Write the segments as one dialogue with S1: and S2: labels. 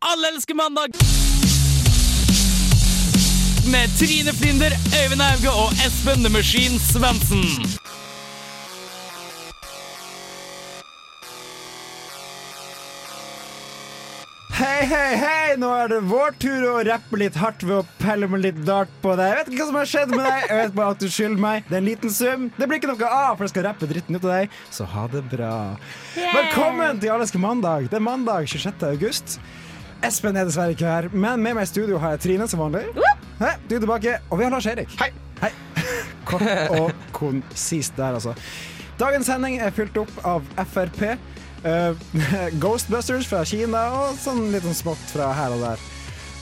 S1: Alle elsker mandag! Med Trine Flinder, Øyvind Auge og Espen The Machine Svendsen.
S2: Hei, hei, hei! Nå er det vår tur å rappe litt hardt ved å pelle med litt dart på deg. Jeg vet ikke hva som har skjedd med deg. Jeg vet bare at du skylder meg. Det er en liten sum. Det blir ikke noe av, for jeg skal rappe dritten ut av deg. Så ha det bra. Velkommen til Alleske mandag. Det er mandag 26. august. Espen er dessverre ikke her, men med meg i studio har jeg Trine som vanlig. Hei, du er tilbake. Og vi har Lars Erik. Hei. Hei. Kort og konsist der, altså. Dagens sending er fylt opp av Frp, eh, Ghostbusters fra Kina og sånn litt sånn smått fra her og der.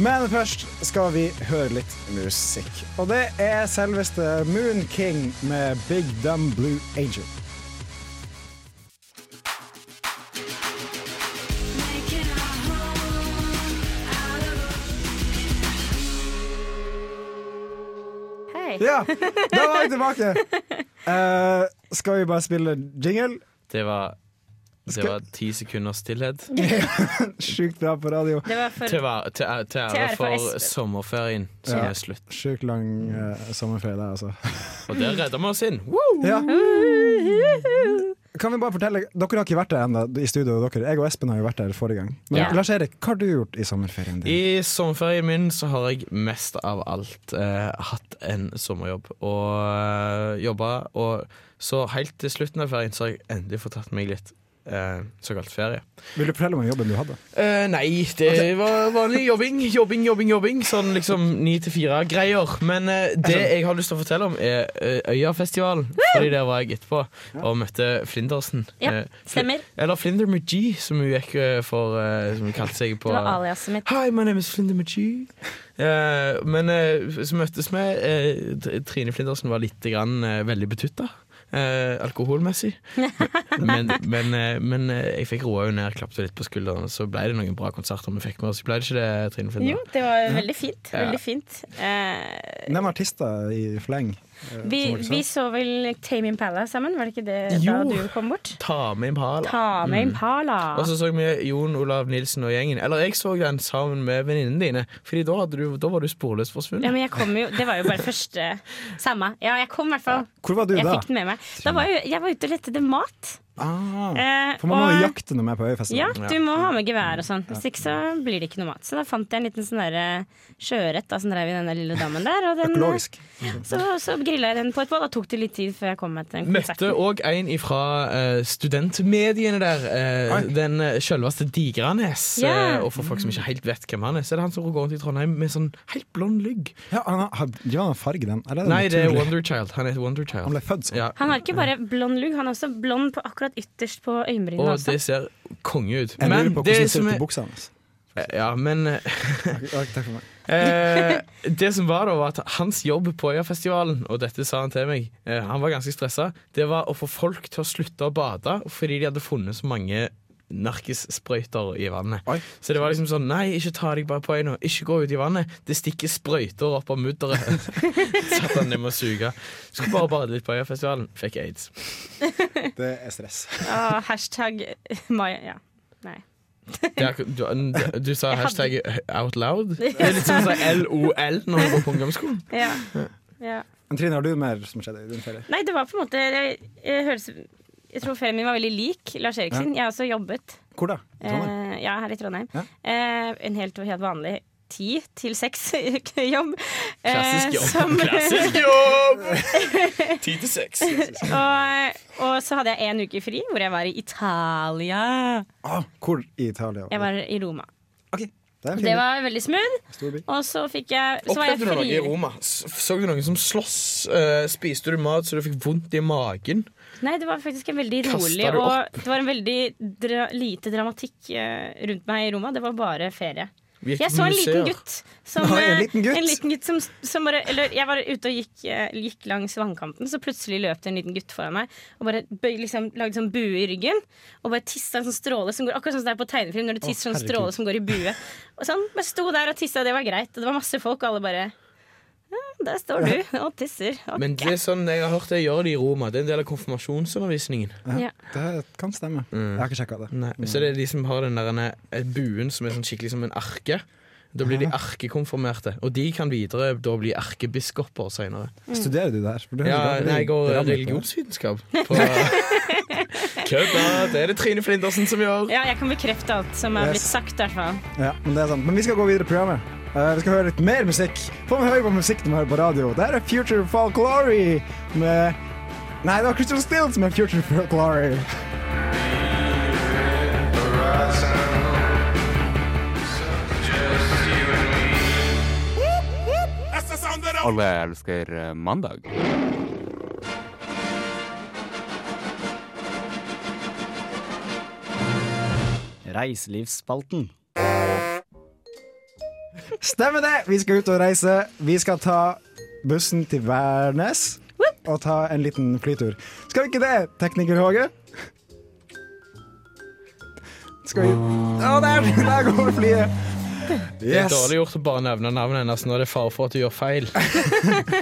S2: Men først skal vi høre litt musikk. Og det er selveste Moon King med Big Dumb Blue Angel.
S3: Hei.
S2: Ja, da var vi tilbake! Eh, skal vi bare spille jingle?
S4: Det var det
S2: Skal-
S4: var ti sekunders stillhet
S2: Sjukt bra på radio.
S3: Det var for
S4: til, ære- til, ære- til
S3: Til ære for
S4: ære for
S3: Espen.
S4: sommerferien som
S2: Ja.
S4: er slutt.
S2: Sjukt lang eh, sommerferie der, altså.
S4: Og der redda vi oss inn! Woo!
S2: Ja. Kan vi bare fortelle, Dere har ikke vært der ennå i studio. Dere. Jeg og Espen har jo vært der forrige gang. Men
S3: Ja.
S2: Lars Erik, hva har du gjort i sommerferien din?
S4: I sommerferien min så har jeg mest av alt eh, hatt en sommerjobb og eh, jobba. Og så helt til slutten av ferien så har jeg endelig fått tatt meg litt eh, såkalt ferie.
S2: Vil du fortelle meg om jobben du hadde?
S4: Eh, nei, det
S3: Altså-
S4: var vanlig jobbing. Jobbing, jobbing, jobbing. Sånn liksom ni til fire-greier. Men eh, det
S3: Altså-
S4: jeg har lyst til å fortelle om, er eh, Øyafestivalen. Fordi der var jeg etterpå og møtte Flindersen.
S3: Ja,
S4: Eh, Fl-
S3: stemmer.
S4: Eller Flinder McGee, som hun gikk eh, for eh, Som hun kalte seg på
S3: Det var aliaset mitt.
S4: Hi, my name is Flinder McGee. Eh, men eh, så møttes vi. eh, Tr- Trine Flindersen var litt grann, eh, veldig betutta. eh, alkoholmessig. Men, men, eh, men eh, jeg fikk roa henne ned, klappet litt på skulderen, så ble det noen bra konserter vi fikk med oss. Ble det ikke det, Trine
S3: Jo,
S4: Flinder?
S3: det var veldig fint.
S4: Ja.
S3: Veldig fint. Eh,
S2: Nevn artister i fleng. eh,
S3: vi,
S2: som dere sa.
S3: vi så vel Tame Impala sammen, var det ikke det
S4: Jo.
S3: da du kom bort?
S4: Ta med Impala.
S3: Ta med
S4: Og
S3: Impala!
S4: så så vi Jon Olav Nilsen og gjengen. Eller jeg så den sammen med venninnene dine, Fordi da, hadde du, da var du sporløst forsvunnet.
S3: Ja, men jeg kom jo, det var jo bare første Samme. Ja, jeg kom i hvert fall.
S2: Hvor var du
S3: Jeg
S2: da?
S3: fikk den med meg. Da var jo, jeg var ute og lette etter mat.
S2: Ah,
S3: Eh,
S2: for man må jo
S3: og-
S2: jakte når man er på Øyafestivalen.
S3: Ja, du må ha med gevær og sånn. Hvis ikke så blir det ikke noe mat. Så da fant jeg en liten sånn der eh, sjøørret da, som drev i denne lille dammen der. Og den,
S2: Økologisk.
S3: Så, så grilla jeg den på et bål. Da tok det litt tid før jeg kom meg til den
S4: Møtte
S3: konserten.
S4: òg en ifra eh, studentmediene der. eh,
S2: Oi.
S4: den eh, selveste Digranes.
S3: Ja.
S4: eh, og for folk som ikke helt vet hvem han er, så er det han som går rundt i Trondheim med sånn helt blond lygg.
S2: Ja, han har, har- ja, han har farge, den. Eller
S4: Nei, det er
S2: naturlig?
S4: Wonderchild. Han heter
S2: Han
S4: Wonderchild.
S2: ble født sånn.
S4: Ja.
S3: Han har ikke bare blond lugg, han er også blond på akkurat ytterst på øyenbrynene.
S4: Og
S3: også.
S4: det ser konge ut.
S2: altså- Jeg lurer på
S4: det
S2: hvordan det ser
S4: som
S2: ut
S4: er-
S2: på buksa hans.
S4: Ja, men eh,
S2: Ja, takk for meg.
S4: Eh, det som var da, var at hans jobb på Øyafestivalen, og dette sa han til meg, eh, han var ganske stressa, det var å få folk til å slutte å bade fordi de hadde funnet så mange narkissprøyter i vannet.
S2: Oi.
S4: Så det var liksom sånn Nei, ikke ta deg bare på øynene. Ikke gå ut i vannet. Det stikker sprøyter opp av mudderet. Satt han ned med å suge. Skulle bare bade litt på Øyafestivalen. Fikk aids.
S2: Det er stress.
S3: Ah, hashtag Maya. Ja. Nei.
S4: Det er, akkur- du, du sa
S3: Jeg hadde-
S4: hashtag out loud? Det er litt sånn som å si LOL når du går på ungdomsskolen.
S3: Ja. Ja.
S2: Men Trine, har du mer som skjedde i din ferie?
S3: Nei, det var på en måte Jeg, jeg, høres, jeg tror ferien min var veldig lik Lars Erik sin. Jeg har også jobbet.
S2: Hvor da? I Trondheim?
S3: Eh, ja, her i Trondheim.
S2: Ja.
S3: Eh, en helt, helt vanlig ti til seks jobb. Eh,
S4: Klassisk jobb.
S3: som-
S4: Klassisk jobb! Ti til seks.
S3: og, og så hadde jeg en uke fri hvor jeg var i Italia.
S2: Ah, hvor i Italia?
S3: Jeg var i Roma.
S2: Ok, det er en fin
S3: Det var veldig smooth.
S2: by. Stor by.
S3: Og så fikk jeg så var jeg
S4: Opplevde du noe
S3: fri-
S4: i Roma? S- Så du noen som slåss? Eh, Spiste du mat så du fikk vondt i magen?
S3: Nei, det var faktisk en veldig
S4: Kastet
S3: rolig
S4: du
S3: og det var en veldig dra lite dramatikk eh, rundt meg i Roma. Det var bare ferie.
S4: Gikk
S3: Jeg
S4: på
S3: så en liten
S4: museer.
S3: gutt som,
S2: Oi, en
S3: eh,
S2: liten gutt?
S3: en liten gutt som, som bare, eller Jeg var ute og gikk, eh, gikk langs vannkanten, så plutselig løp det en liten gutt foran meg og bare bøy, liksom, lagde sånn bue i ryggen. Og bare tissa en sånn stråle som går akkurat sånn som det er på tegnefilm, når du tisser sånn
S2: herregud.
S3: stråle som går i bue. Og sånn, bare sto der og tissa, og det var greit. Og det var masse folk, og alle bare «Ja, der står du og tisser. Og
S4: Men det er sånn jeg har hørt det gjør de i Roma. Det er en del av konfirmasjonsundervisningen.
S3: Ja.
S2: Det kan stemme.
S4: Mm.
S2: Jeg har ikke sjekka det.
S4: Nei. Så det er de som har den der eh, buen som er sånn skikkelig som en arke. Da blir de arkekonfirmerte, og de kan videre da bli erkebiskoper seinere.
S2: Mm. Studerer du det her? For du
S4: Ja,
S2: hører jo aldri-
S4: nei, jeg går eh,
S2: rammer på det.
S4: religionsvitenskap. på- Kødda! Det er det Trine Flindersen som gjør.
S3: ja, jeg kan bekrefte alt som er blitt
S2: Yes.
S3: sagt, i hvert fall.
S2: Ja, men det er sant. Men vi skal gå videre i programmet. Eh, vi skal høre litt mer musikk. Få med høre på musikk når vi hører på radio. Der er Future Folklory med Nei, det var Crystal Stills med Future Folklory.
S5: Alle elsker eh, mandag.
S6: Reiselivsspalten.
S2: Stemmer det! Vi skal ut og reise. Vi skal ta bussen til Værnes og ta en liten flytur. Skal vi ikke det, tekniker Håge? Skal vi Å, der, der går flyet!
S4: Det er
S2: Yes.
S4: dårlig gjort å bare nevne navnet hennes når det er fare for at du gjør feil.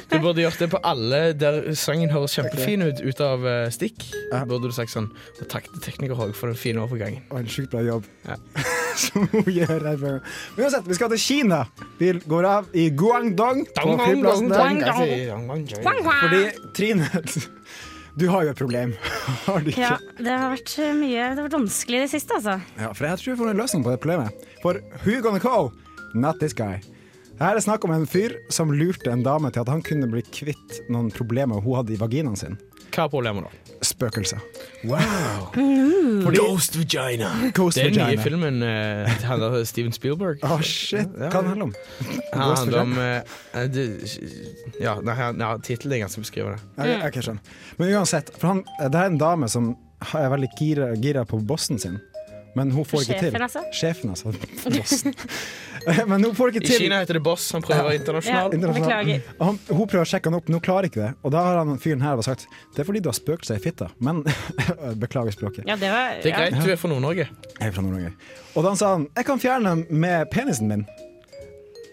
S4: Du burde gjort det på alle der sangen høres kjempefin ut ut av eh, stikk.
S2: Ja.
S4: Burde du sagt sånn Og takk til tekniker Håge for den fine overgangen.
S2: Og en sjukt bra jobb.
S4: Ja.
S2: Som hun gjør her. på- Men uansett, vi skal til Kina. Vi går av i Guangdong. På flyplassen der. Fordi, Trine, du har jo et problem. Har du ikke?
S3: Ja, det har vært eh, mye Det har vært vanskelig i det siste, altså.
S2: Ja, for jeg tror jeg får en løsning på det problemet. For who gonna call? Not this guy. Her er det snakk om en fyr som lurte en dame til at han kunne bli kvitt noen problemer hun hadde i vaginaen sin.
S4: Hva er problemet, da?
S2: Spøkelser.
S4: Ghost vagina.
S2: Ghost
S4: Det er den nye
S2: vagina.
S4: filmen eh, til han der Steven Spielberg.
S2: Å, shit. Hva det handler om?
S4: Han
S2: Ghost
S4: handler om eh, det, Ja, nei, han- ja tittelen er ganske beskrivende.
S2: Ok,
S3: Mm.
S2: ok, skjønner. Men uansett, for han, eh, det er en dame som er veldig gira, gira på bossen sin. Men hun får ikke til.
S3: Sjefen, altså?
S2: Sjefen, altså. Bossen. Men hun får ikke
S4: I
S2: til.
S4: Kina heter det Boss. Han prøver å være internasjonal.
S3: Ja. Beklager.
S2: Og Han, hun prøver å sjekke han opp, men hun klarer ikke det. Og da har han fyren her bare sagt det er fordi du har spøkt seg i fitta. Men Beklager språket.
S3: Ja, det var
S4: Det er
S3: ja.
S4: greit, du er fra Nord-Norge.
S2: Jeg er fra Nord-Norge. Og da sa han jeg kan fjerne den med penisen min.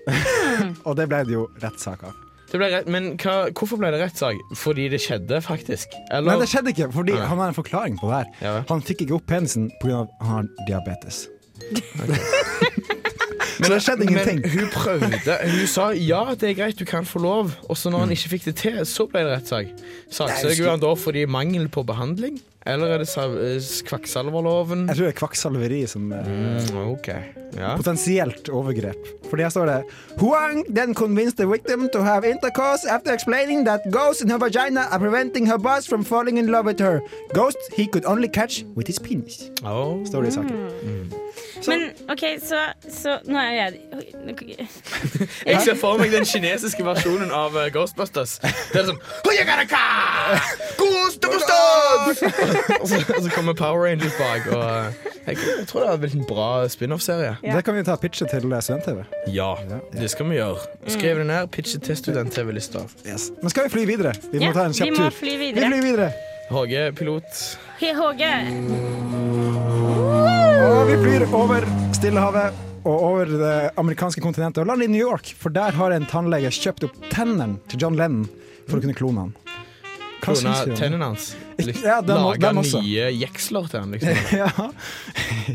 S3: Mm.
S2: og det ble det jo rettssak av.
S4: Det ble rett, men hva, hvorfor ble det rettssak? Fordi det skjedde, faktisk?
S2: Nei,
S4: Eller
S2: det skjedde ikke, fordi
S4: Nei.
S2: han har en forklaring på det her.
S4: Ja.
S2: Han fikk ikke opp penisen pga. han har diabetes. Så det skjedde ingenting.
S4: Men hun prøvde. Hun sa ja, det er greit, du kan få lov. Og så
S2: Mm.
S4: når han ikke fikk det til, så ble det rettssak. Saksøker hun han da fordi mangel på behandling? Eller er det sa- eh, kvakksalverloven?
S2: Jeg tror det er kvakksalveri som eh,
S4: Mm, OK. Ja.
S2: Potensielt overgrep. Fordi her står det Huang then convinced the victim to have intercourse after explaining that ghosts in her vagina are preventing her boss from falling in love with her. Ghosts he could only catch with his penis.
S4: Oh.
S2: Står det i saken.
S3: Mm, Men OK, så, så Nå er jo jeg
S4: Jeg ser for meg den kinesiske versjonen av eh, Ghostbusters. Det er sånn «Huyagaraka! Ghostbusters!» og, så, og så kommer Power Rangers bak. Og, eh, jeg, jeg tror det hadde blitt en bra spin-off-serie.
S3: Ja.
S2: Det kan vi ta pitchet til eh, student-TV.
S4: Ja, det skal vi gjøre. Skriv det ned. Pitche til student-TV-lista.
S2: Men skal vi fly videre? Vi må
S3: Ja,
S2: ta en kjapp
S3: vi
S2: tur.
S3: må fly videre.
S2: Vi flyr videre.
S4: Håge, pilot.
S3: Hei, Håge.
S2: Og vi flyr over Stillehavet og over det amerikanske kontinentet og lander i New York. For der har en tannlege kjøpt opp tennene til John Lennon for å kunne klone han. Hva
S4: Klona
S2: syns vi om det?
S4: tennene hans. Lik-
S2: Ja, den må-
S4: Laga
S2: den også.
S4: nye jeksler til han, liksom.
S2: Ja.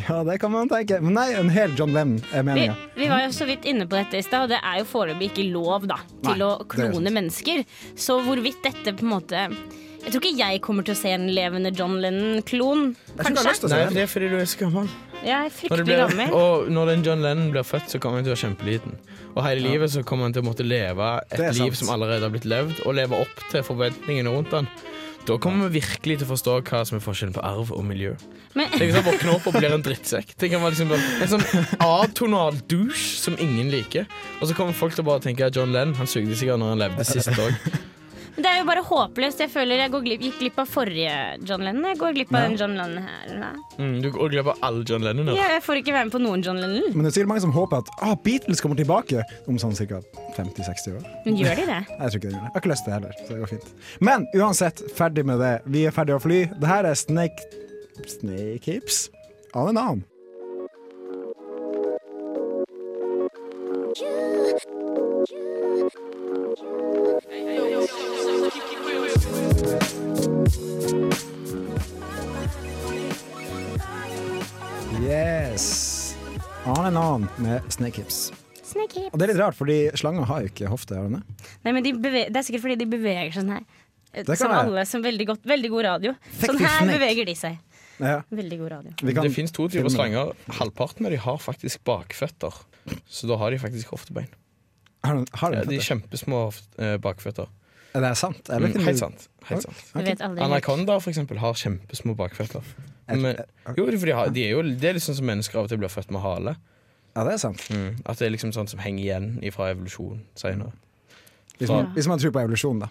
S2: ja, det kan man tenke. Men nei, en hel John Lennon er
S3: Vi,
S2: meninga.
S3: vi var jo så vidt inne på dette i stad, og det er jo foreløpig ikke lov da til
S2: Nei,
S3: å
S2: det er sant.
S3: klone mennesker. Så hvorvidt dette på en måte Jeg tror ikke jeg kommer til å se en levende John Lennon-klon.
S2: tror ikke jeg har lyst
S3: Kanskje.
S2: til å
S4: Nei,
S2: se
S4: det er fordi du er så gammel.
S3: Jeg er
S4: Når, det
S3: fryktelig
S4: blir,
S3: gammel.
S4: og når den John Lennon blir født, så kommer han til å være kjempeliten. Og hele livet så kommer han til å måtte leve et
S2: Det er
S4: liv
S2: sant.
S4: som allerede har blitt levd, og leve opp til forventningene rundt han. Da kommer vi virkelig til å forstå hva som er forskjellen på arv og miljø.
S3: Men,
S4: Tenk hvis han våkner opp og blir en drittsekk. Tenk han var liksom bare En sånn atonal douche som ingen liker. Og så kommer folk til å bare tenke at John Lennon han sugde sikkert når han levde sist òg.
S3: men det er jo bare håpløst. Jeg føler jeg går glipp, gikk glipp av forrige John Lennon. Jeg går glipp av den John Lennon her. Nei.
S4: Mm, du går glipp av alle John Lennoner.
S3: Jeg får ikke være med på noen John Lennon.
S2: Men det er sikkert mange som håper at ah, Beatles kommer tilbake om sånn ca. 50-60 år.
S3: Men gjør de det?
S2: Nei, Jeg tror ikke det gjør det. Jeg har ikke lyst til det heller. så det går fint. Men uansett, ferdig med det. Vi er ferdig å fly. Det her er Snake Snake Hips av en annen. On and On med Snake Hips.
S3: Snake hip.
S2: Og det er litt rart, fordi slanger har jo ikke hofte. Har de det?
S3: Nei, men de beve det er sikkert fordi de beveger seg sånn her. Eh,
S2: kan
S3: Som
S2: være.
S3: alle som veldig, godt, veldig god radio.
S2: Fuck
S3: Sånn
S2: you,
S3: her
S2: snake.
S3: beveger de seg.
S2: Ja.
S3: Veldig god radio.
S2: Vi kan-
S4: Det fins to typer
S2: filme.
S4: slanger. Halvparten av de har faktisk bakføtter. Så da har de faktisk hoftebein.
S2: Har de, har de
S4: Ja, de
S2: føtter?
S4: kjempesmå hoft- eh, bakføtter.
S2: Er det sant? Eller
S4: Mm,
S2: kunne du-
S4: helt sant. Helt sant.
S3: Du vet aldri. helt.
S4: Anakondaer for eksempel har kjempesmå bakføtter. Men, jo, det er fordi de har, de er jo, det er litt sånn som mennesker av og til blir født med hale.
S2: Ja, det er sant.
S4: At det er liksom sånn som henger igjen fra evolusjon senere.
S2: Hvis man, hvis man tror på evolusjon, da.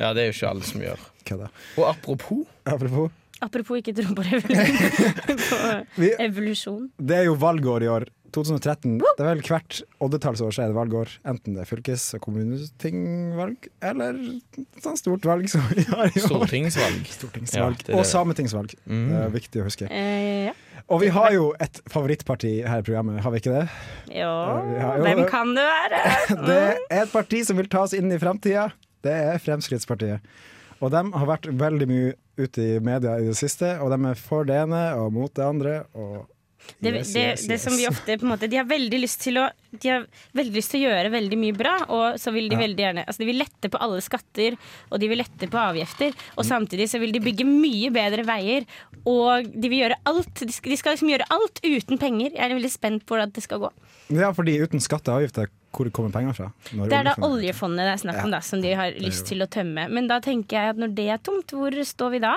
S4: Ja, det er jo ikke alle som gjør.
S2: Kødda.
S4: Og apropos
S2: Apropos.
S3: Apropos ikke tro på revolusjon. på
S2: Vi,
S3: evolusjon.
S2: det er jo valgår i år. 2013. Det er vel hvert oddetallsår så er det valgår. Enten det er fylkes- og kommunetingvalg, eller sånn stort valg som vi har i år.
S4: stortingsvalg. Ja,
S2: Stortingsvalg.
S4: det Mm. er det.
S2: Og sametingsvalg. Det er viktig å huske.
S3: Eh, ja.
S2: Og vi har jo et favorittparti her i programmet, har vi ikke det?
S3: Jo,
S2: Ja, jo,
S3: hvem
S2: det-
S3: kan det være?
S2: Det er et parti som vil ta oss inn i framtida. Det er Fremskrittspartiet. Og de har vært veldig mye ute i media i det siste, og de er for det ene og mot det andre. Og
S3: Det,
S2: Yes,
S3: det,
S2: yes,
S3: det
S2: yes.
S3: som vi ofte på en måte, De har veldig lyst til å De har veldig lyst til å gjøre veldig mye bra, og så vil de veldig gjerne Altså de vil lette på alle skatter, og de vil lette på avgifter, og samtidig så vil de bygge mye bedre veier, og de vil gjøre alt. De skal, de skal liksom gjøre alt uten penger. Jeg er veldig spent på hvordan det skal gå.
S2: Ja, fordi uten skatter og avgifter, hvor kommer pengene fra? Når
S3: Det er da
S2: oljefondet-
S3: oljefondet det er snakk om, da, som de har lyst til å tømme. Men da tenker jeg at når det er tomt, hvor står vi da?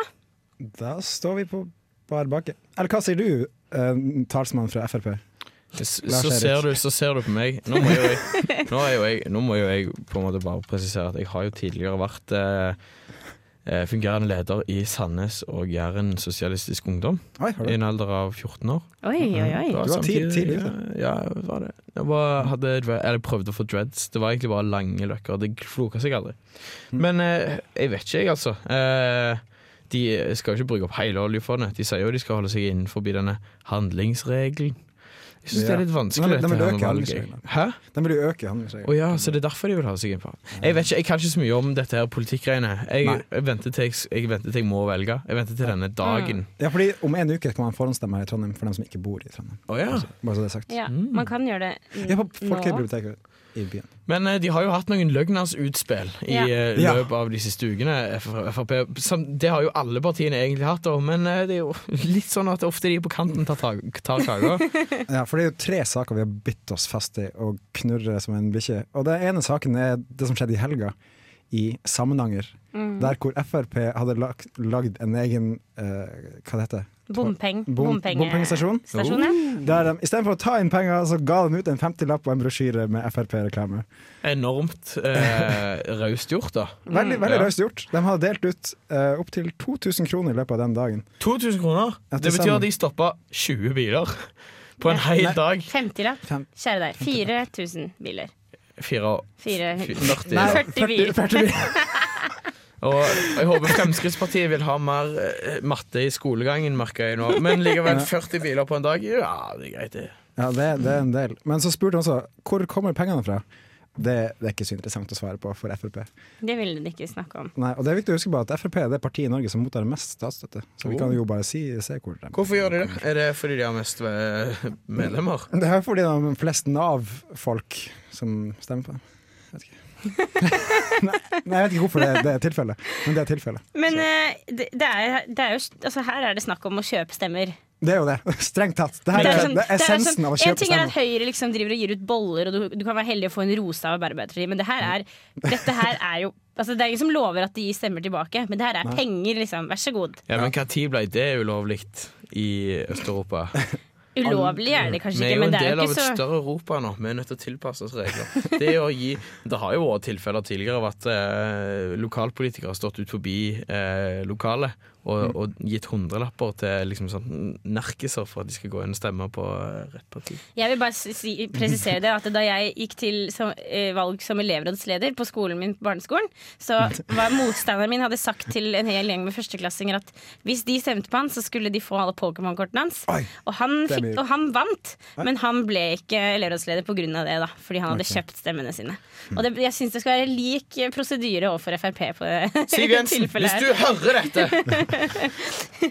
S2: Da står vi på bar bakke. Eller hva sier du, eh, talsmann fra Frp?
S4: S-
S2: Lars
S4: Så
S2: Erik.
S4: ser, du, så ser du på meg. Nå må jo jeg, nå er jo jeg, nå må jo jeg på en måte bare presisere at jeg har jo tidligere vært eh, eh, fungerende leder i Sandnes og Jæren Sosialistisk Ungdom
S2: Oi, har du?
S4: i en alder av 14 år.
S3: Oi, oi, oi.
S4: Det
S2: Du var tid-
S4: samtidig-
S2: tidlig ute.
S4: Ja, det var det. Jeg, var, hadde, eller jeg prøvde å få dreads. Det var egentlig bare lange løkker. Det floka seg aldri.
S2: Mm.
S4: Men eh, jeg vet ikke, jeg, altså. Eh, de skal jo ikke bruke opp hele oljefondet. De sier jo de skal holde seg innenfor denne handlingsregelen. Jeg syns det
S2: Ja.
S4: er litt
S2: Nei,
S4: vanskelig.
S2: men- nei,
S4: dette
S2: men
S4: her
S2: det
S4: med
S2: øker
S4: valget.
S2: handlingsregelen.
S4: Hæ?
S2: Den vil jo øke
S4: Å
S2: handlingsregelen.
S4: ja, så det er derfor de vil holde seg innenfor. Jeg vet ikke, jeg kan ikke så mye om dette her politikkgreiene. Jeg,
S2: Nei.
S4: jeg, venter til jeg, jeg venter til jeg må velge. Jeg venter til denne dagen.
S2: Ja, fordi om en uke kan man forhåndsstemme her i Trondheim for dem som ikke bor i Trondheim.
S4: Å ja.
S2: Bare så det er sagt.
S3: Ja, man kan gjøre det
S2: Ja, på
S3: nå.
S2: folkebiblioteket i byen.
S4: Men eh, de har jo hatt noen løgnersutspill i
S3: Ja.
S4: eh,
S2: Ja.
S4: løpet av de siste ukene. F- FRP, som, det har jo alle partiene egentlig hatt, da, men eh, det er jo litt sånn at ofte de på kanten tar, ta- tar kaka.
S2: Ja, for det er jo tre saker vi har bitt oss fast i og knurrer som en bikkje. Og den ene saken er det som skjedde i helga i Samnanger.
S3: Mm.
S2: Der hvor Frp hadde lagt, lagd en egen eh, Hva det heter
S3: Bompeng,
S2: Bom-
S3: bompenge-
S2: bompengestasjon.
S3: stasjon, ja.
S2: Der de, Istedenfor å ta inn penger, så ga de ut en 50-lapp og en brosjyre med Frp-reklame.
S4: Enormt eh, raust gjort, da.
S3: Mm.
S2: Veldig, veldig
S4: Ja.
S2: raust gjort. De hadde delt ut uh, opptil 2000 kroner i løpet av den dagen.
S4: 2000 kroner.
S2: Ja, til
S4: Det betyr
S2: sammen.
S4: at de stoppa 20 biler på en hel dag.
S3: 50-lapp.
S2: Fem-
S3: Kjære deg. 4000 biler.
S4: Fire og
S3: Fire,
S4: fy- 40.
S3: Nei.
S4: biler.
S3: 40 biler.
S2: 40 biler.
S4: Og jeg håper Fremskrittspartiet vil ha mer eh, matte i skolegangen, merker jeg nå. Men likevel 40 biler på en dag, ja, det er greit, det.
S2: Ja, det, det er en del. Men så spurte han også hvor kommer pengene fra. Det, det er ikke så interessant å svare på for Frp.
S3: Det ville de ikke snakke om.
S2: Nei, og det er viktig å huske på at Frp er det partiet i Norge som mottar mest statsstøtte. Så vi kan jo bare si, se hvor de
S4: Hvorfor gjør de det? Er det fordi de har mest eh, medlemmer?
S2: Det er fordi det er flest Nav-folk som stemmer på dem. Jeg vet ikke. nei, nei, jeg vet ikke hvorfor det, det er tilfellet, men det er tilfellet.
S3: Men eh, det, det er, det er jo, altså, her er det snakk om å kjøpe stemmer.
S2: Det er jo det. Strengt tatt. Det, her
S3: Det
S2: er,
S3: er sånn-
S2: det er
S3: det er
S2: essensen
S3: sånn-
S2: av å
S3: En
S2: kjøpe
S3: ting er at
S2: stemmer.
S3: Høyre liksom driver og gir ut boller, og du, du kan være heldig å få en rose av Arbeiderpartiet, men det her er, dette her er jo altså, Det er ingen som lover at de gir stemmer tilbake, men det her er penger, liksom. Vær så god.
S4: Ja, men Når ble det ulovlig i Øst-Europa?
S3: Ulovlig er det
S4: Vi
S3: kanskje ikke,
S4: er jo
S3: men
S4: en
S3: det er
S4: del
S3: jo
S4: av et
S3: ikke så
S4: større Europa nå. Vi er nødt til å tilpasse oss regler. Det, å gi, det har jo vært tilfeller tidligere av at eh, lokalpolitikere har stått ut forbi eh, lokalet og, og gitt hundrelapper til liksom, sånn, nerkiser for at de skal gå inn og stemme på eh, rett parti.
S3: Jeg vil bare si, presisere det at da jeg gikk til som, eh, valg som elevrådsleder på skolen min, på barneskolen, så var motstanderen min hadde sagt til en hel gjeng med førsteklassinger at hvis de stemte på han, så skulle de få alle Pokémon-kortene hans.
S2: Oi,
S3: Og han,
S2: det er
S3: fikk,
S2: mye.
S3: og han vant, men han ble ikke elevrådsleder pga. det, da, fordi han hadde kjøpt stemmene sine.
S2: Hmm.
S3: Og det, jeg syns det skal være lik prosedyre overfor Frp på det
S4: Siv Jensen,
S3: tilfellet
S4: hvis
S3: her.
S4: du hører dette,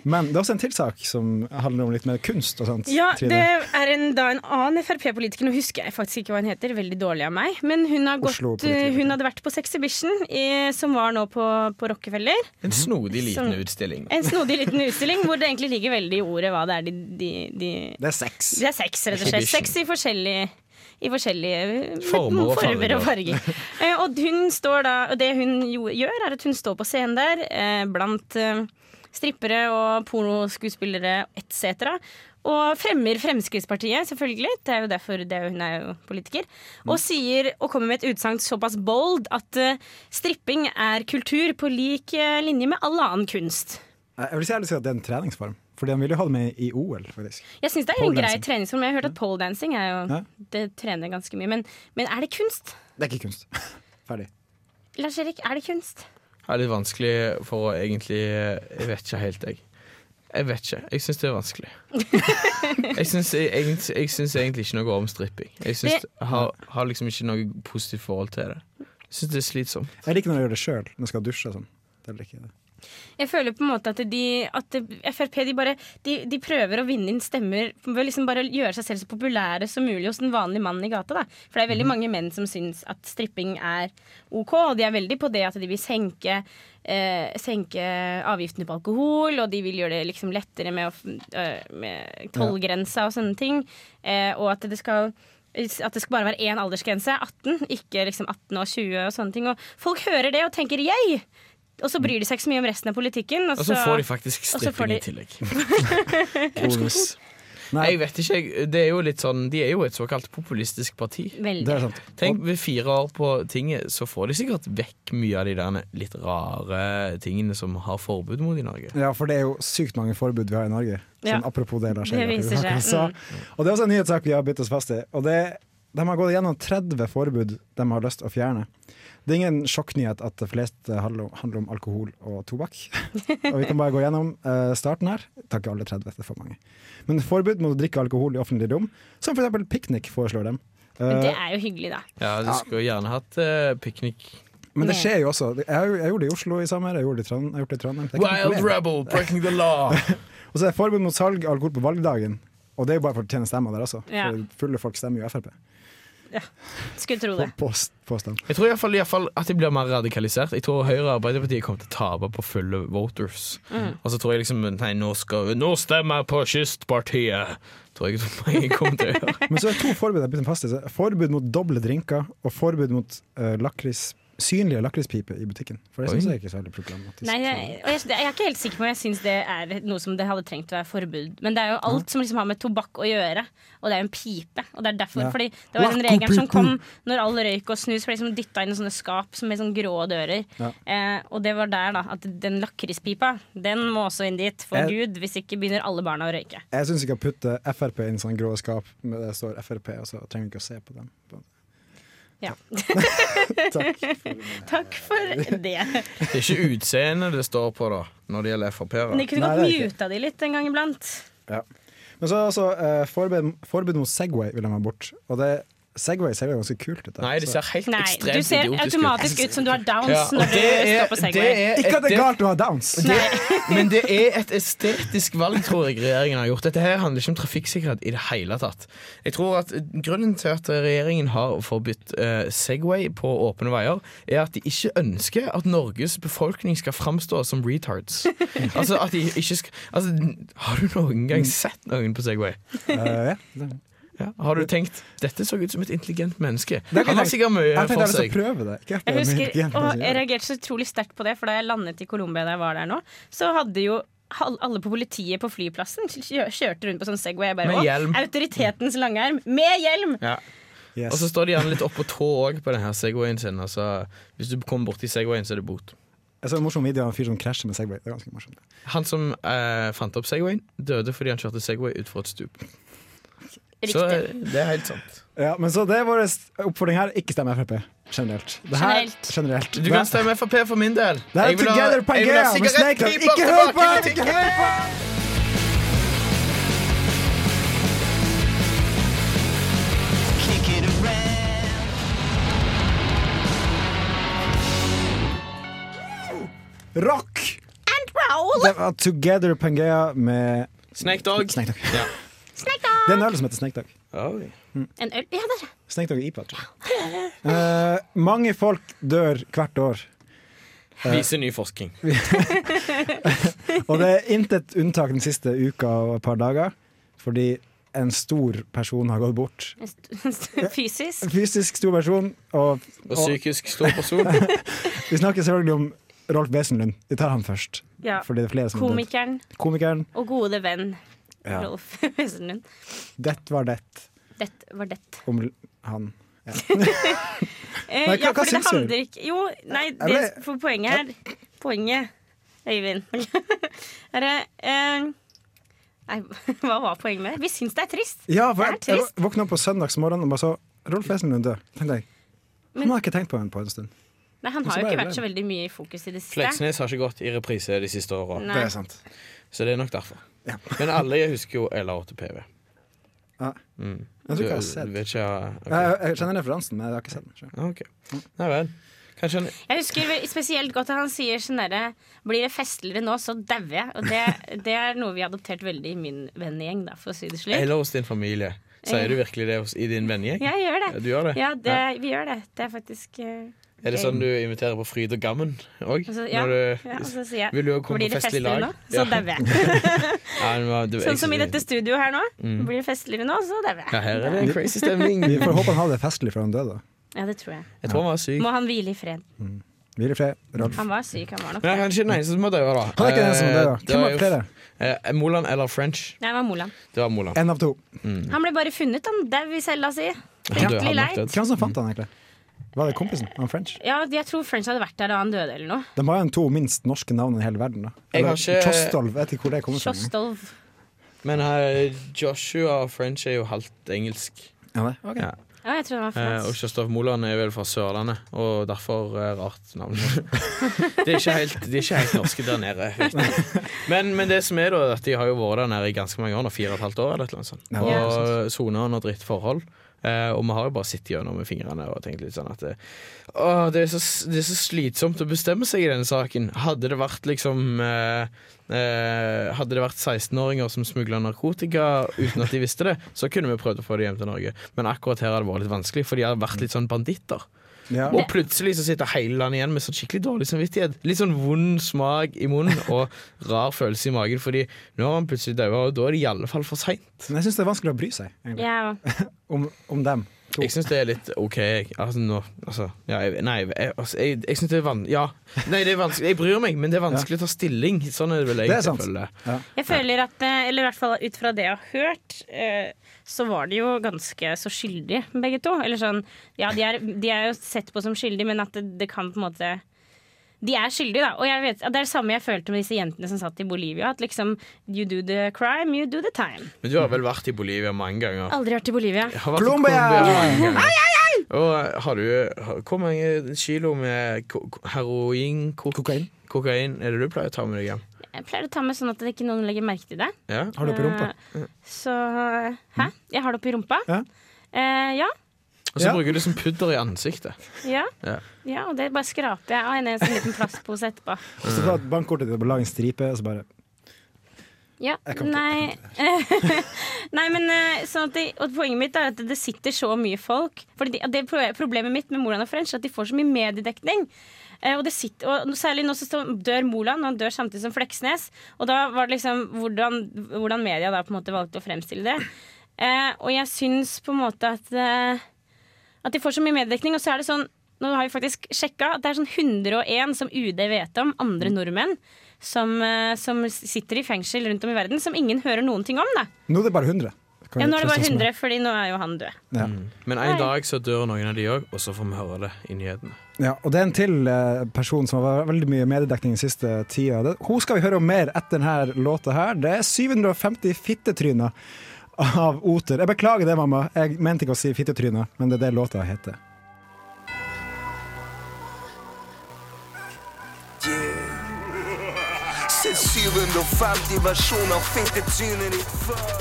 S2: Men det er også en til sak som handler om litt mer kunst og sånt.
S3: Ja,
S2: Trine.
S3: det er en, da en annen Frp-politiker, nå husker jeg faktisk ikke hva hun heter, veldig dårlig av meg, men hun, har gått,
S2: Oslo-politiker.
S3: hun hadde vært på Sexhibition, i- som var nå på, på Rockefeller.
S4: En snodig liten
S3: Sånn.
S4: utstilling.
S3: En snodig liten utstilling hvor det egentlig ligger veldig i ordet hva det er de, de, de
S2: Det er sex.
S3: Det er sex, rett og slett.
S4: Exhibition.
S3: Sex i forskjellige i forskjellige eh,
S4: Former og
S3: former og farger. Eh, og hun står da Og det hun jo, gjør, er at hun står på scenen der eh, blant eh, strippere og pornoskuespillere etc. Og fremmer Fremskrittspartiet, selvfølgelig. Det er jo derfor det er jo, hun er jo politiker.
S4: Mm.
S3: Og sier og kommer med et utsagn såpass bold at eh, stripping er kultur på lik eh, linje med all annen kunst.
S2: Jeg vil si ærlig si at det er en treningsform. Fordi han ville jo ha det med i OL, faktisk.
S3: Jeg syns det er en
S2: Pole
S3: grei
S2: dancing.
S3: treningsform. Jeg har hørt at poledancing er jo
S2: Ja.
S3: Det trener ganske mye. Men, men er det kunst?
S2: Det er ikke kunst. Ferdig.
S3: Lars Erik, er det kunst?
S4: Det er litt vanskelig for å egentlig Jeg vet ikke helt, jeg. Jeg vet ikke. Jeg syns det er vanskelig. Jeg syns egentlig, jeg syns egentlig ikke noe om stripping. Jeg synes,
S3: Det-
S4: har, har liksom ikke noe positivt forhold til det. Jeg syns det er slitsomt.
S2: Jeg liker når jeg gjør det sjøl, når jeg skal dusje og sånn. Det er vel ikke det.
S3: Jeg føler på en måte at, de, at det- Frp de bare de, de prøver å vinne inn stemmer ved å liksom bare gjøre seg selv så populære som mulig hos den vanlige mannen i gata. Da. For det er veldig mange menn som syns at stripping er OK, og de er veldig på det at de vil senke, eh, senke avgiftene på alkohol, og de vil gjøre det liksom lettere med, å f- eh, med tollgrensa og sånne ting. Eh, og at det skal at det skal bare være én aldersgrense, 18, ikke liksom 18 og 20 og sånne ting. Og folk hører det og tenker 'yay'! Og så bryr de seg ikke så mye om resten av politikken. Og
S4: Og
S3: så,
S4: så får de faktisk
S3: og så får
S4: stripping
S3: de-
S4: i tillegg.
S2: Bonus. Nei,
S4: Jeg vet ikke, jeg. Det er jo litt sånn, de er jo et såkalt populistisk parti.
S3: Veldig.
S2: det er sånn, sant.
S4: Tenk, ved fire år på tinget, så får de sikkert vekk mye av de der litt rare tingene som har forbud mot i Norge.
S2: Ja, for det er jo sykt mange forbud vi har i Norge. Sånn
S3: Ja.
S2: apropos det, Lars
S3: Det
S2: Erik,
S3: viser
S2: akkurat
S3: seg, Mm.
S2: sa. Og det er også en nyhetssak vi har bitt oss fast i. Og det, de har gått gjennom 30 forbud de har lyst å fjerne. Det er ingen sjokknyhet at det fleste handler om, handler om alkohol og tobakk. og vi kan bare gå gjennom eh, starten her. Tar ikke alle 30, det er for mange. Men forbud mot å drikke alkohol i offentlig rom, som f.eks. piknik foreslår dem.
S3: Men det
S2: Eh,
S3: er jo hyggelig, da.
S4: Ja, du skulle gjerne hatt eh, piknik.
S2: Eh, men det skjer jo også. Jeg, har jo- jeg gjorde det i Oslo i sommer, jeg gjorde det i Trond- jeg har gjort det i Trondheim. Det er ikke noe
S4: Wild
S2: problem.
S4: rebel, breaking the law.
S2: Og så er det forbud mot salg av alkohol på valgdagen. Og det er jo bare for å tjene stemmer der også.
S3: Ja.
S2: For fulle folk stemmer jo Frp.
S3: Skulle tro
S2: På,
S3: det.
S2: på, påstand.
S4: Jeg tror i hvert fall- i hvert fall at de blir mer radikalisert. Jeg tror Høyre og Arbeiderpartiet kommer til å tape på fulle voters.
S3: Mm.
S4: Og så tror jeg liksom Nei, nå, skal, nå stemmer jeg på Kystpartiet! Tror jeg mange kommer til å gjøre.
S2: Men så er det to forbud jeg bytter fast i. Så er det Forbud mot doble drinker og forbud mot eh, lakris, synlige lakrispiper i butikken. For det syns
S4: Oi.
S2: jeg ikke er særlig problematisk.
S3: Nei, jeg, og jeg, jeg er ikke helt sikker på om jeg syns det er noe som det hadde trengt å være forbud. Men det er jo alt som liksom har med tobakk å gjøre, og det er jo en pipe. Og det er derfor,
S2: Ja.
S3: fordi det var den
S2: Narkopipe.
S3: regelen som kom når all røyk og snus ble liksom dytta inn i sånne skap som med sånne grå dører.
S2: Ja.
S3: Eh, og det var der, da, at den lakrispipa, den må også inn dit. For
S2: Jeg-
S3: gud, hvis ikke begynner alle barna å røyke.
S2: Jeg syns vi skal putte Frp inn i sånn grå skap med det står Frp, og så trenger vi ikke å se på dem.
S3: Ja.
S2: Takk.
S3: Takk for det.
S4: Det er ikke utseendet det står på, da, når det gjelder Frp-ere.
S3: Men de kunne
S2: Nei,
S3: godt
S2: det er ikke.
S3: muta de litt en gang iblant.
S2: Ja. Men så er det også eh, forbud, forbud mot Segway vil de ha bort. Og det, Segway ser jo ganske kult ut. da.
S4: Nei, de ser helt
S3: Nei, du
S4: ekstremt
S3: ser
S4: idiotiske ut.
S3: automatisk ut som du har downs
S4: Ja, og
S3: når du
S4: det er-
S3: står på Segway.
S4: det er-
S2: Ikke at det
S4: det-
S2: er galt å ha Eh, downs!
S4: Det, men det er et estetisk valg, tror jeg regjeringen har gjort. Dette her handler ikke om trafikksikkerhet i det hele tatt. Jeg tror at Grunnen til at regjeringen har forbudt eh, Segway på åpne veier, er at de ikke ønsker at Norges befolkning skal framstå som retards. Altså at de ikke skal altså, Har du noen gang sett noen på Segway?
S2: Eh, ja. det-
S4: Ja. Har du tenkt 'dette så ut som et intelligent menneske'?
S2: Det kan
S4: Han har
S2: jeg-
S4: sikkert mye
S2: Jeg tenkte jeg
S4: for
S2: ville
S4: seg.
S2: prøve det. Ikke at
S3: Jeg
S2: det er
S3: husker,
S2: mye igjen,
S3: og
S2: men-
S3: jeg reagerte så utrolig sterkt på det, for da jeg landet i Colombia da jeg var der nå, så hadde jo hal- alle på politiet på flyplassen kjø- kjørte rundt på sånn Segway. Jeg bare,
S4: Med
S3: «Å,
S4: hjelm.»
S3: Autoritetens langarm. Med hjelm!
S4: Ja.
S2: Yes.
S4: Og så står de gjerne litt oppå tå òg på denne Segwayen sin. Altså, hvis du kommer borti Segwayen, så er det bot.
S2: Jeg så en morsom video av en fyr som krasjer med Segway. Det er ganske morsomt.
S4: Han som eh, fant opp Segwayen, døde fordi han kjørte Segway utfor et stup. Så
S3: Riktig.
S4: eh, det er helt sant.
S2: Ja, men så det er vår oppfordring her. Ikke stem Frp. Generelt. Det her,
S3: Generelt.
S2: generelt.
S4: Du kan stemme Frp for min del.
S2: Det her er
S4: Jeg vil ha-
S2: Together
S4: jeg vil ha
S2: Pangea med Snake
S4: sigarettpiper
S2: Ikke hør på!
S4: tilbake i
S2: han, Ikke
S4: butikken.
S2: hør på! han! Rock!
S4: eh,
S3: And roll!
S2: det var Together Pangea med
S4: Snake Dog.
S2: Snake Dog.
S4: Ja.
S2: Det er en øl som heter Snake Dog.
S4: Oi.
S3: En øl? Ja, der.
S2: Snake Dog er IPA, tror jeg. Eh, mange folk dør hvert år,
S4: Viser ny forskning.
S2: og det er intet unntak den siste uka og et par dager, fordi en stor person har gått bort.
S3: En st- st- Fysisk.
S2: En fysisk stor person, og
S4: Og psykisk stor person.
S2: vi snakker selvfølgelig om Rolf Wesenlund. Vi tar han først,
S3: Ja.
S4: sånn
S2: fordi det er flere som har dødd.
S3: Komikeren
S2: Komikeren.
S3: og gode venn
S2: Ja.
S3: Rolf Wesenlund.
S2: Det var det
S3: Dette var det.
S2: om l- han.
S3: Eh,
S2: Nei, hva-
S3: ja,
S2: hva
S3: fordi det
S2: syns du?
S3: handler ikke Jo, nei,
S2: Er
S3: det,
S2: det-
S3: for poenget her Poenget, Øyvind er det, eh, Nei, hva var poenget med det? Vi syns det er trist.
S2: Ja, for
S3: Det er
S2: jeg, jeg
S3: trist.
S2: våkna opp på søndagsmorgenen og bare så Rolf Wesenlund død. Tenkte jeg. Han
S3: Men-
S2: har jeg ikke tenkt på henne på en stund.
S3: Nei, Han
S2: Men så
S3: har jo
S2: ble
S3: ikke
S2: det
S3: vært så veldig mye i fokus i det siste.
S4: Fleksnes har ikke gått i reprise de siste åra,
S2: Det
S3: Nei.
S2: er sant.
S4: så det er nok derfor.
S2: Ja.
S4: Men alle husker jo LA8PV.
S2: Jeg tror ikke jeg har sett
S4: Mm. Du vet ikke
S2: jeg,
S4: ja, ok.
S2: jeg kjenner referansen, men jeg har ikke sett den. selv.
S4: Ah, ok. Nei vel. Kanskje han
S3: Jeg husker ve- spesielt godt at han sier sånn derre Blir det festligere nå, så dauer jeg. Og det, det er noe vi har adoptert veldig i min vennegjeng, da, for å si det slik.
S4: Eller hos din familie. Sier du virkelig det hos, i din vennegjeng?
S3: Jeg gjør det.
S4: Du gjør det?
S3: Ja, det, vi gjør det. Det er faktisk eh,
S4: Er det sånn du inviterer på Fryd og Gammen òg?
S3: altså, ja, ja, og så sier jeg
S4: Vil du òg komme
S3: Blir det
S4: på festlig
S3: festligere
S4: lag?
S3: nå, så dauer jeg.
S4: Ja, men hva- du- jeg-
S3: Sånn som i dette studioet her nå. Blir det festligere nå, så dauer
S4: Mm. Ja,
S3: jeg.
S4: her er det crazy stemning.
S2: Vi får håpe han hadde det festlig før han døde. da.
S3: Ja, det tror jeg.
S4: Jeg tror han var syk.
S3: Må han hvile i fred.
S2: Hvil i fred, Rolf.
S3: Han var syk, han var nok
S4: Men han er
S3: det.
S4: kanskje den eneste som har dødd, da.
S2: Han er ikke den som døde.
S4: Eh, det
S2: Hvem
S4: var
S2: var
S4: jo-
S2: flere?
S4: Eh, Moland eller French?
S3: Nei, det var Moland.
S4: Det var Moland.
S2: Én av to.
S3: Han ble bare funnet, han. Dau i cella si.
S4: Han døde,
S3: Fryktelig
S4: han nok
S3: leit.
S4: dødd.
S2: Hvem som fant han egentlig? Var det kompisen? Han French?
S3: Ja, jeg tror French hadde vært der da han døde, eller noe.
S2: De har jo to minst norske navn i hele verden. da
S4: Jeg har
S2: Eller
S4: ikke-
S2: Kjostolv, vet ikke hvor det kommer fra. engang.
S3: Kjostolv.
S4: Men eh, Joshua French er jo halvt engelsk.
S2: Ja, det? ok.
S4: Ja.
S3: Ja, jeg tror han var
S4: Eh, og
S3: fransk.
S4: Kristoff Moland er vel fra Sørlandet, og derfor eh, rart navn. de, er ikke helt, de er ikke helt norske der nede. Vet du. men, men det som er da, er at de har jo vært der nede i ganske mange år, nå, fire og et halvt år eller et eller annet sånt.
S2: Ja, det er
S4: Og soner under dritt forhold. Eh, og vi har jo bare sittet gjennom med fingrene og tenkt litt sånn at eh, Åh, det er, så, det er så slitsomt å bestemme seg i denne saken. Hadde det vært liksom eh, eh, Hadde det vært 16-åringer som smugla narkotika uten at de visste det, så kunne vi prøvd å få det hjem til Norge. Men akkurat her har det vært litt vanskelig, for de har vært litt sånn banditter.
S2: Ja.
S4: Og plutselig så sitter hele landet igjen med sånn skikkelig dårlig samvittighet. Litt sånn vond smak i munnen og rar følelse i magen, fordi nå har han plutselig daua, og da er det i alle fall for seint.
S2: Men jeg syns det er vanskelig å bry seg egentlig,
S3: Ja,
S2: om, om dem. To.
S4: Jeg syns det er litt OK. jeg. Altså, nå, altså ja, jeg, Nei, jeg, altså, jeg, jeg syns det er van... Ja. Nei, det er vanskelig. Jeg bryr meg, men det er vanskelig å ta stilling. Sånn er det vel
S2: Det er
S4: jeg
S2: sant.
S4: føler.
S3: Jeg føler at, eh, eller i hvert fall ut fra det jeg har hørt, eh, så var de jo ganske så skyldige, begge to. Eller sånn, ja, de er, de er jo sett på som skyldige, men at det, det kan på en måte De er skyldige, da. Og jeg vet, det er det samme jeg følte med disse jentene som satt i Bolivia. At liksom You do the crime, you do the time.
S4: Men du har vel vært i Bolivia mange ganger?
S3: Aldri vært i Bolivia.
S4: Jeg har vært i
S2: Colombia!
S4: Colombia mange ganger. Og eh, har du har- Hvor mange kilo med ko- ko- heroin, kok
S2: Kokain.
S4: kokain er det du pleier å ta med deg hjem?
S3: Jeg pleier å ta med sånn at det ikke noen legger merke til det.
S4: Ja?
S2: Har du oppi rumpa?
S3: Eh, Så Hæ? Jeg har det oppi rumpa?
S2: Ja.
S3: Eh, ja.
S4: Og så
S2: Ja.
S4: bruker du som pudder i ansiktet.
S3: Ja.
S4: Ja.
S3: ja. Og det bare skraper jeg av en eneste liten plastpose etterpå.
S2: Og så ta bankkortet ditt og lage en stripe, og så bare
S3: Ja,
S2: Jeg kan ikke-
S3: nei Nei, men eh, sånn at de, og Poenget mitt er at det sitter så mye folk. Fordi de, det er pro- Problemet mitt med Moland og French er at de får så mye mediedekning. Eh, og, det sitter, og Særlig nå så står- dør Moland, og han dør samtidig som Fleksnes. Og da var det liksom hvordan, hvordan media da på en måte valgte å fremstille det. Eh, og jeg syns på en måte at eh, At de får så mye mediedekning. Og så er det sånn Nå har vi faktisk sjekka at det er sånn 101 som UD vet om, andre nordmenn, som, eh, som sitter i fengsel rundt om i verden, som ingen hører noen ting om. da
S2: Nå er det bare 100. Kan
S3: ja,
S2: vi
S3: nå er det bare
S2: trøste oss med.
S3: 100, fordi nå er jo han død.
S2: Ja.
S4: Men en dag så dør noen av de òg, og så får vi høre det i nyhetene.
S2: Ja, og det er en til eh, person som har vært veldig mye mediedekning den siste tida. Det, hun skal vi høre om mer etter denne låta her. Det er 750 fittetryner av oter. Jeg beklager det, mamma. Jeg mente ikke å si fittetryner, men det er det låta heter.
S6: Yeah. Sett 750 versjoner av fettetrynet ditt før.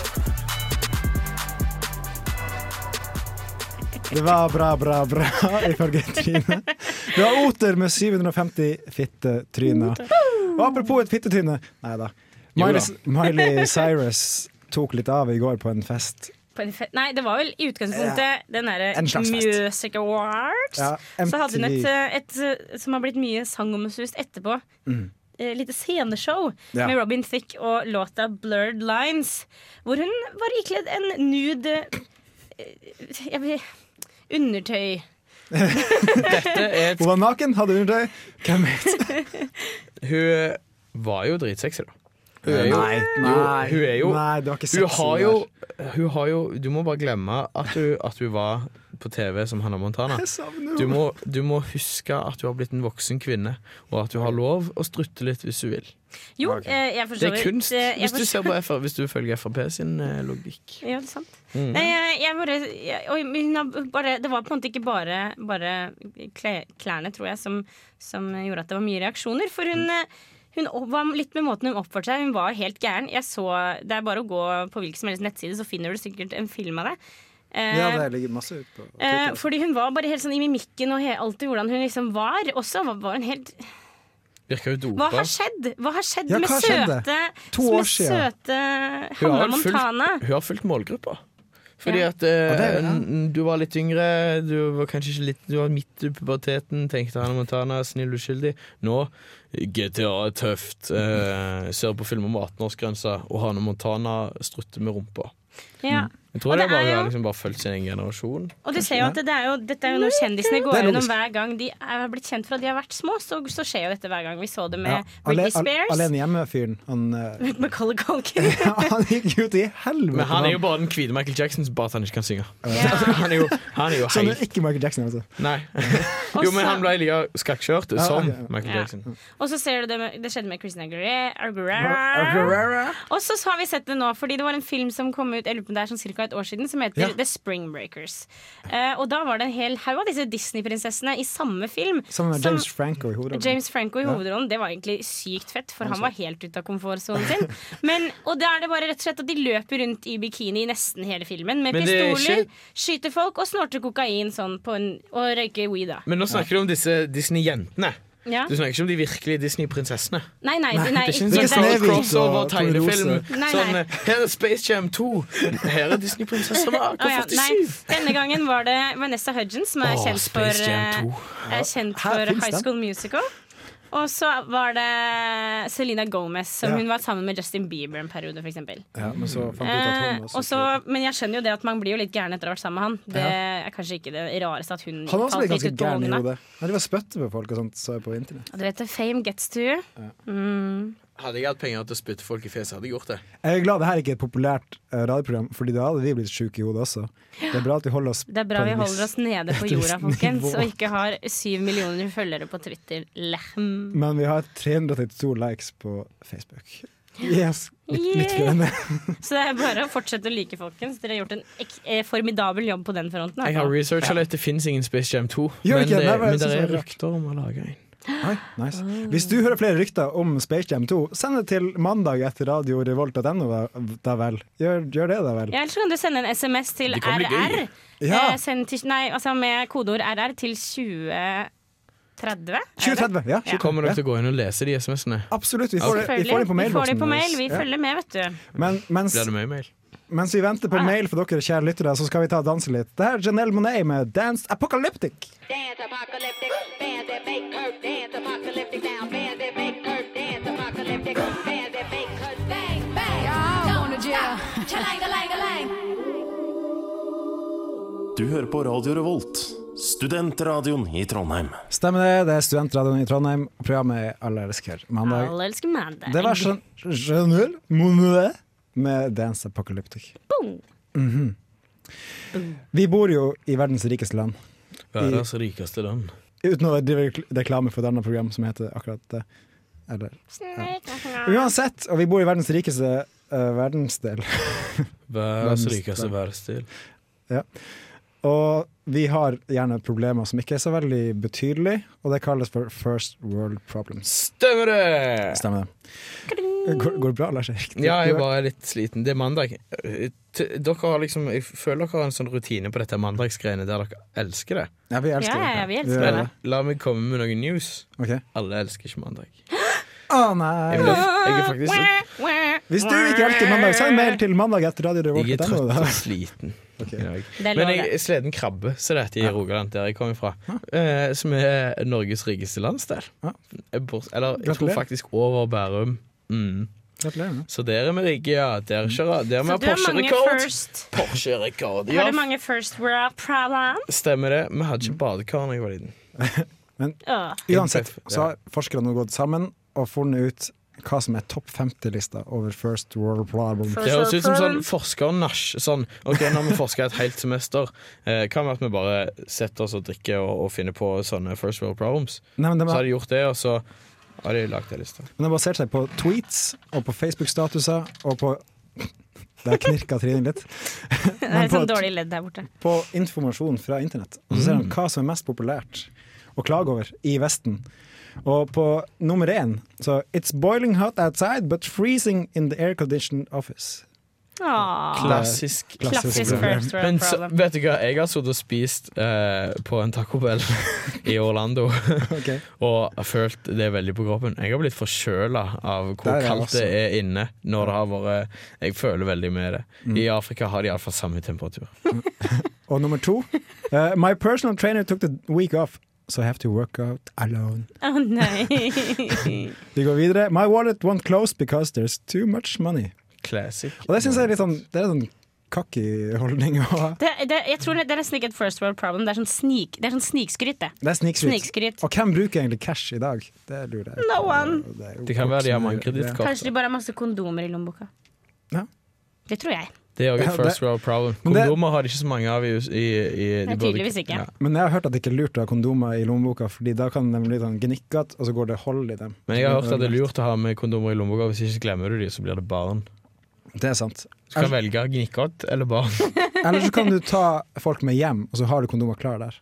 S2: Det var bra, bra, bra, ifølge Trine. Det var oter med 750 fittetryner. Og apropos et fittetynne Nei da. Miley, Miley Cyrus tok litt av i går på en fest.
S3: På en fe Nei, det var vel i utgangspunktet den derre
S2: En slags fest.
S3: Music Awards.
S2: Ja,
S3: Så hadde hun et,
S2: MTV.
S3: eh, et eh, som har blitt mye sangomsust etterpå. Eh, lite sceneshow
S2: Mm. Ja.
S3: med Robin Thicke og låta 'Blurred Lines'. Hvor hun var ikledd en nude eh, jeg vet, undertøy.
S4: Dette er et
S2: Hun var naken, hadde undertøy. Hvem vet?
S4: Hun var jo dritsexy, da. Hun er jo,
S2: Nei,
S4: jo, hun er jo,
S2: Nei, det var ikke
S4: hun
S2: sexy.
S4: har
S2: det
S4: jo,
S2: der.
S4: hun har jo Du må bare glemme at hun, at hun var på TV som Hannah Montana.
S2: Jeg savner
S4: Du
S2: henne.
S4: må, du må huske at du har blitt en voksen kvinne, og at du har lov å strutte litt hvis du vil.
S3: Jo, eh, jeg forstår
S4: Det er kunst, hvis du, ser på FR, hvis du følger Frp sin eh, logikk.
S3: Ja, det er sant.
S2: Mm.
S3: Nei, jeg, jeg bare, jeg, og hun har bare Det var på en måte ikke bare, bare kle, klærne, tror jeg, som, som gjorde at det var mye reaksjoner. For hun, eh, hun opp- var litt med måten hun oppførte seg Hun var helt gæren. Jeg så, det er bare å gå på hvilken som helst nettside, så finner du sikkert en film av det. Eh,
S2: Ja, det ligger masse ut på
S3: eh, fordi hun var bare helt sånn i mimikken og he, alltid hvordan hun liksom var. Også var, var hun helt
S4: Virker jo
S3: Hva
S4: dopa.
S3: har skjedd? Hva har skjedd
S2: Ja,
S3: med
S2: hva skjedde?
S3: søte
S2: To år
S3: med
S2: siden.
S3: søte
S4: Hun
S3: Hanna
S4: har fulgt-
S3: Montana?
S4: Hun har fulgt målgruppa. Fordi
S3: Ja.
S4: at eh,
S2: Og det er jo det.
S4: n- du var litt yngre, du var kanskje ikke litt Du var midt i puberteten, tenkte Hannah Montana, snill uskyldig. Nå GTA er tøft, eh, ser på film om 18-årsgrensa, og Hannah Montana strutter med rumpa.
S2: Mm.
S3: Ja.
S4: Jeg tror
S3: Og
S4: det
S3: det
S4: er bare
S3: er
S4: hun
S3: jo-
S4: har liksom bare fulgt sin egen generasjon.
S3: Og du ser jo at det er jo, Dette er jo noe kjendisene
S2: Det
S3: går
S2: er
S3: gjennom
S2: logisk.
S3: hver gang de er blitt kjent fra de har vært små. Så, så skjer jo dette hver gang. Vi så det med
S2: Ja,
S3: Britney
S2: ale- al-
S3: Spears.
S2: Alene hjemme-fyren. Han, eh,
S3: Macaulay Culkin.
S2: han gikk ut i helvete.
S4: Men han er jo
S2: han.
S4: bare den hvite Michael Jackson, bare at han ikke kan synge. Altså,
S3: Ja.
S4: Han er jo, han er jo
S2: Så han Sånn er
S4: helt
S2: ikke Michael Jackson, altså.
S4: Nei.
S3: Og
S4: Jo, men
S3: så-
S4: han ble like skakkjørt
S2: Ja,
S4: som
S2: ok.
S4: Michael
S3: Ja.
S4: Jackson.
S3: Og så ser du det, med, det skjedde med Christina Aguilera. Aguilera. Og så har vi sett det nå, fordi det var en film som kom ut jeg lurer på om det er sånn cirka et år siden, som heter
S4: Ja.
S3: The Spring Breakers. Eh, og da var det en hel haug av disse Disney-prinsessene i samme film.
S2: Sammen med
S3: som-
S2: James Franco i
S4: Mm.
S2: hodet.
S3: James Franco i hovedrollen, det var egentlig sykt fett, for han var helt ute av komfortsonen sin. Men, og da er det bare rett og slett at de løper rundt i bikini i nesten hele filmen med
S4: Men det er
S3: pistoler,
S4: ikke-
S3: skyter folk og snorter kokain sånn på en, og røyker weed, da.
S4: Men nå snakker du om disse Disney-jentene.
S3: Ja.
S4: Du snakker ikke om de virkelige Disney-prinsessene.
S3: Nei, nei, nei,
S4: Det er ikke
S3: ikke
S4: en sånn
S2: Ikke
S3: nei,
S2: Snehvit og
S4: crossover
S2: Tone
S4: tegnefilm.
S2: Rose.
S3: Nei,
S4: Sånn,
S3: nei.
S4: eh, her er Space Jam 2. Her er Disney-prinsessa Marco
S3: Å ja, nei.
S4: 47.
S3: Denne gangen var det Vanessa Hudgens, som er
S4: Åh,
S3: kjent for,
S4: Space Jam 2.
S3: eh, er kjent
S2: Her
S3: for
S2: finnes
S3: High
S2: den.
S3: School Musical. Og så var det Selena Gomez, som
S2: Ja.
S3: hun var sammen med Justin Bieber en periode, for eksempel.
S2: Ja, men så fant vi ut at
S3: Eh,
S2: han også
S3: også, men jeg skjønner jo det at man blir jo litt gæren etter å ha vært sammen med han. Det er kanskje ikke det rareste at hun
S2: Han er også
S3: falt
S2: blitt
S3: litt
S2: ganske
S3: ut på
S2: gæren i
S3: vogna.
S2: hodet. Han driver og spytter på folk og sånt, så jeg på internett.
S3: Og Du vet, det, fame gets to you.
S4: Hadde jeg hatt penger til å spytte folk i fjeset, hadde jeg gjort det.
S2: Jeg er glad det her ikke er et populært eh, radioprogram, Fordi da hadde vi blitt syke i hodet også. Det er bra at vi holder oss
S3: Det er bra
S2: på
S3: vi
S2: en
S3: holder
S2: viss-
S3: oss nede på
S2: et
S3: jorda,
S2: visst
S3: folkens,
S2: nivå.
S3: og ikke har syv millioner følgere på Twitter. Lehm.
S2: Men vi har 332 likes på Facebook. Yes, litt, litt flere enn det.
S3: Så det er bare å fortsette å like, folkens. Dere har gjort en ek eh, formidabel jobb på den fronten. altså.
S4: Jeg har researcha litt, det fins ingen Space Jam 2.
S2: Gjør
S4: Men
S2: ikke det, det
S4: det,
S2: var
S4: men
S2: jeg
S4: det
S2: som
S4: er
S2: så rart.
S4: rykter om å lage en.
S2: Oi, nice. Hvis du hører flere rykter om Space Jam 2, send det til mandag etter radio revolt.no, da, da vel. Gjør, gjør det, da vel.
S3: Ja, Eller så kan du sende en SMS til
S4: Det kan bli
S3: RR.
S4: gøy.
S2: Ja.
S3: Eh, send til, nei, altså med kodeord RR til 2030. er det?
S2: 2030. Ja, 2030.
S4: Kommer
S2: Ja.
S4: dere til å gå inn og lese de SMS-ene?
S2: Absolutt. Vi får, det, vi
S3: Selvfølgelig.
S2: får det på
S3: Vi får det
S2: mailboksen.
S3: på mail. Vi
S2: vår. Ja.
S3: følger med, vet du.
S2: Men mens,
S4: Blir det mye mail?
S2: mens vi venter
S3: Ah.
S2: på mail for dere kjære lyttere, så skal vi ta og danse litt. Det her er Janelle Monet med 'Dance Apocalyptic'.
S7: Dance apocalyptic, bands that make her dance apocalyptic now, bands that make her dance apocalyptic, bands that make her bang bang. Y'all wanna jail? Chalanga, langa, lang.
S8: Du hører på Radio Revolt, studentradioen i Trondheim.
S2: Stemmer det, det er Studentradioen i Trondheim. og Programmet er Alle elsker mandag.
S3: Alle elsker mandag.
S2: Det var sånn- Jan- Janelle Monet med 'Dance Apocalyptic'. Mhm.
S3: Boom.
S2: Vi bor jo i verdens rikeste land.
S4: Verdens rikeste land.
S2: Uten å drive rekl- reklame for et annet program som heter akkurat det. Eller.
S3: Ah.
S2: Uansett, og vi bor i verdens rikeste eh, verdensdel.
S4: Verdens
S2: Verdens
S4: rikeste
S2: land.
S4: verdstil.
S2: Og vi har gjerne problemer som ikke er så veldig betydelige, og det kalles for first world problems.
S4: Stemmer det!
S2: Stemmer det. Går, går det bra, Lars Erik?
S4: Ja, jeg bare er litt sliten. Det er mandag. Eh, T- Dere har liksom, jeg føler dere har en sånn rutine på dette mandagsgreiene der dere elsker det.
S2: Ja, vi elsker
S3: Ja, ja,
S2: det.
S3: ja, vi elsker
S2: gjør
S4: Men la meg komme med noen news.
S2: Ok.
S4: Alle elsker ikke mandag.
S2: Å
S4: Jeg ble-
S2: nei.
S4: jeg er faktisk
S2: Hvis du ikke hjelper mandag, send mail til mandag etter Radio Revolt.
S4: jeg er
S2: Det er
S4: trøtt
S2: noe,
S4: og
S2: da.
S4: sliten. i dag.
S3: Det er
S4: Men
S3: lov,
S4: jeg er sleden krabbe, så det heter i Rogaland, der jeg kommer fra. Eh, som er Norges rikeste landsdel.
S2: Ja.
S4: Eh, bort- Eller jeg tror
S2: Gratulerer.
S4: faktisk over Bærum. Mm.
S2: Gratulerer med det.
S4: Så der er vi rike, ja. Der kjører der
S3: Så
S4: vi har
S3: du har mange
S4: Porsche-rekord.
S3: first.
S4: Porsche-rekord,
S3: Har du
S4: ja.
S3: mange first world problem?
S4: Stemmer det. Vi hadde ikke badekar da jeg var liten.
S3: Åh.
S2: Uansett så har forskerne nå gått sammen og funnet ut hva som er topp 50-lista over First World Problem.
S4: Det høres ut som sånn forskernasj. Sånn, ok, nå har vi forska et helt semester. Eh, hva med at vi bare setter oss og drikker og, og finner på sånne First World Problems?
S2: Nei, men de,
S4: Så har
S2: har,
S4: de gjort det, og så har de lagd ei liste.
S2: men de har basert seg på tweets og på Facebook-statuser og på Der knirka Trine litt.
S3: Det er
S2: Men
S3: et
S2: på
S3: sånn
S2: et-
S3: dårlig ledd der borte.
S2: på informasjon fra internett. Og så ser
S4: Mm.
S2: de hva som er mest populært å klage over i Vesten. Og på nummer én så It's boiling hot outside, but freezing in the air-conditioned office.
S3: Åh.
S4: Klassisk.
S2: Klassisk
S3: Klassisk
S2: problem.
S3: first
S4: Men
S3: world
S4: så,
S3: problem.
S4: vet du hva, jeg har sittet og spist eh, på en Taco Bell i Orlando
S2: Ok.
S4: og har følt det veldig på kroppen. Jeg har blitt forkjøla av
S2: Der
S4: hvor
S2: er altså- jeg
S4: kaldt det
S2: også.
S4: er inne når det har vært Jeg føler veldig med det.
S2: Mm.
S4: I Afrika har de iallfall samme temperatur.
S2: Og nummer to eh, My personal trainer took the week off, so I have to work out alone.
S3: Å nei.
S2: Vi går videre. My wallet won't close because there's too much money.
S4: Classic.
S2: Og det syns jeg er litt sånn Det er en sånn cocky holdning å ha.
S3: Det, det, jeg tror det, det er nesten ikke et first world problem. Det er sånn, snik, det er sånn snikskryt, det.
S2: Det er snikskryt.
S3: Snikskryt.
S2: Og hvem bruker egentlig cash i dag? Det lurer jeg
S3: No
S2: på.
S3: one.
S2: Det, er jo
S4: Det kan være de har mange
S2: voksne-
S3: Kanskje
S4: kredittkort.
S3: de bare har masse kondomer i lommeboka.
S2: Ja.
S3: Det tror jeg.
S4: Det er òg
S2: Ja,
S4: et
S2: det-
S4: first world problem.
S2: Men det-
S4: Kondomer har de ikke så mange av i, i, i de
S3: Nei,
S4: burde-
S3: tydeligvis ikke.
S2: Men jeg har hørt at det ikke er lurt å ha kondomer i lommeboka, Fordi da kan de bli sånn gnikkete, og så går det hold i dem.
S4: Men jeg har hørt at det er lurt å ha med kondomer i lommeboka. Hvis ikke glemmer du de, så blir det barn.
S2: Det er sant.
S4: Du kan velge gnikkert eller barn.
S2: Eller så kan du ta folk med hjem, og så har du kondomer klar der.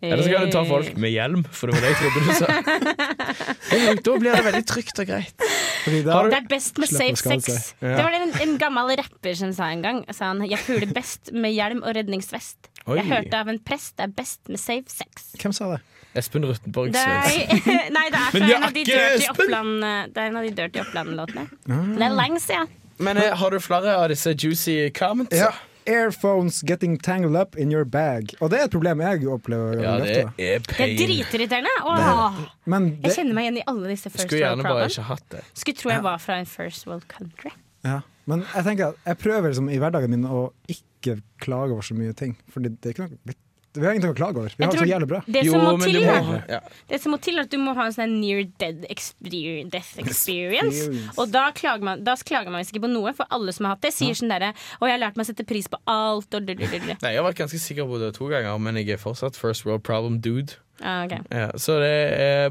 S4: Eller så kan du ta
S3: Eh.
S4: folk med hjelm, for det var det jeg trodde du sa. da blir det veldig trygt og greit.
S2: Fordi da,
S4: Har du-
S3: Det er best med
S2: Slipper å
S3: safe
S2: skade
S3: sex.
S2: seg.
S3: Det var det en, en gammel rapper som sa en gang. Sa han, jeg puler best med hjelm og redningsvest.
S4: Oi.
S3: Jeg hørte av en prest det er best med safe sex.
S2: Hvem sa det?
S4: Espen Ruttenborg
S3: Det
S4: Svendsen.
S3: er, nei, det er
S4: Men
S3: fra
S4: jeg
S3: en av de
S4: akker
S3: Dirty
S4: Espen!
S3: Oppland eh, Det er en av de Dirty Oppland-låtene. Det er lenge siden.
S4: Men eh, har du flere av disse juicy comments?
S2: Airphones getting tangled up in your bag. Og det er et problem jeg opplever.
S4: Ja, det
S2: ofte.
S4: er
S3: Det er
S4: pain.
S3: dritirriterende. Åh,
S2: Men det,
S3: jeg kjenner meg igjen i alle disse First
S4: Skulle
S3: World
S4: gjerne bare
S3: Problems.
S4: ikke hatt det.
S3: Skulle tro jeg var fra en First World Country.
S2: ja. Men jeg tenker at jeg prøver liksom, i hverdagen min å ikke klage over så mye ting. Fordi det er ikke noe, vi, vi har ingenting å klage over. Vi
S3: Jeg
S2: har det
S3: tror
S2: så jævlig bra.
S3: Det som må til,
S4: må-
S3: da,
S4: ja.
S3: Det som må til er at du må ha en sånn near dead experience, death experience.
S2: Experience.
S3: Og da klager, man, da klager man visst ikke på noe, for alle som har hatt det, sier sånn derre Og jeg har lært meg å sette pris på alt, og du-du-du-du.
S4: Nei, Jeg har vært ganske sikker på det to ganger, men jeg er fortsatt first world problem dude.
S3: Ah, ok.
S4: Ja, så det er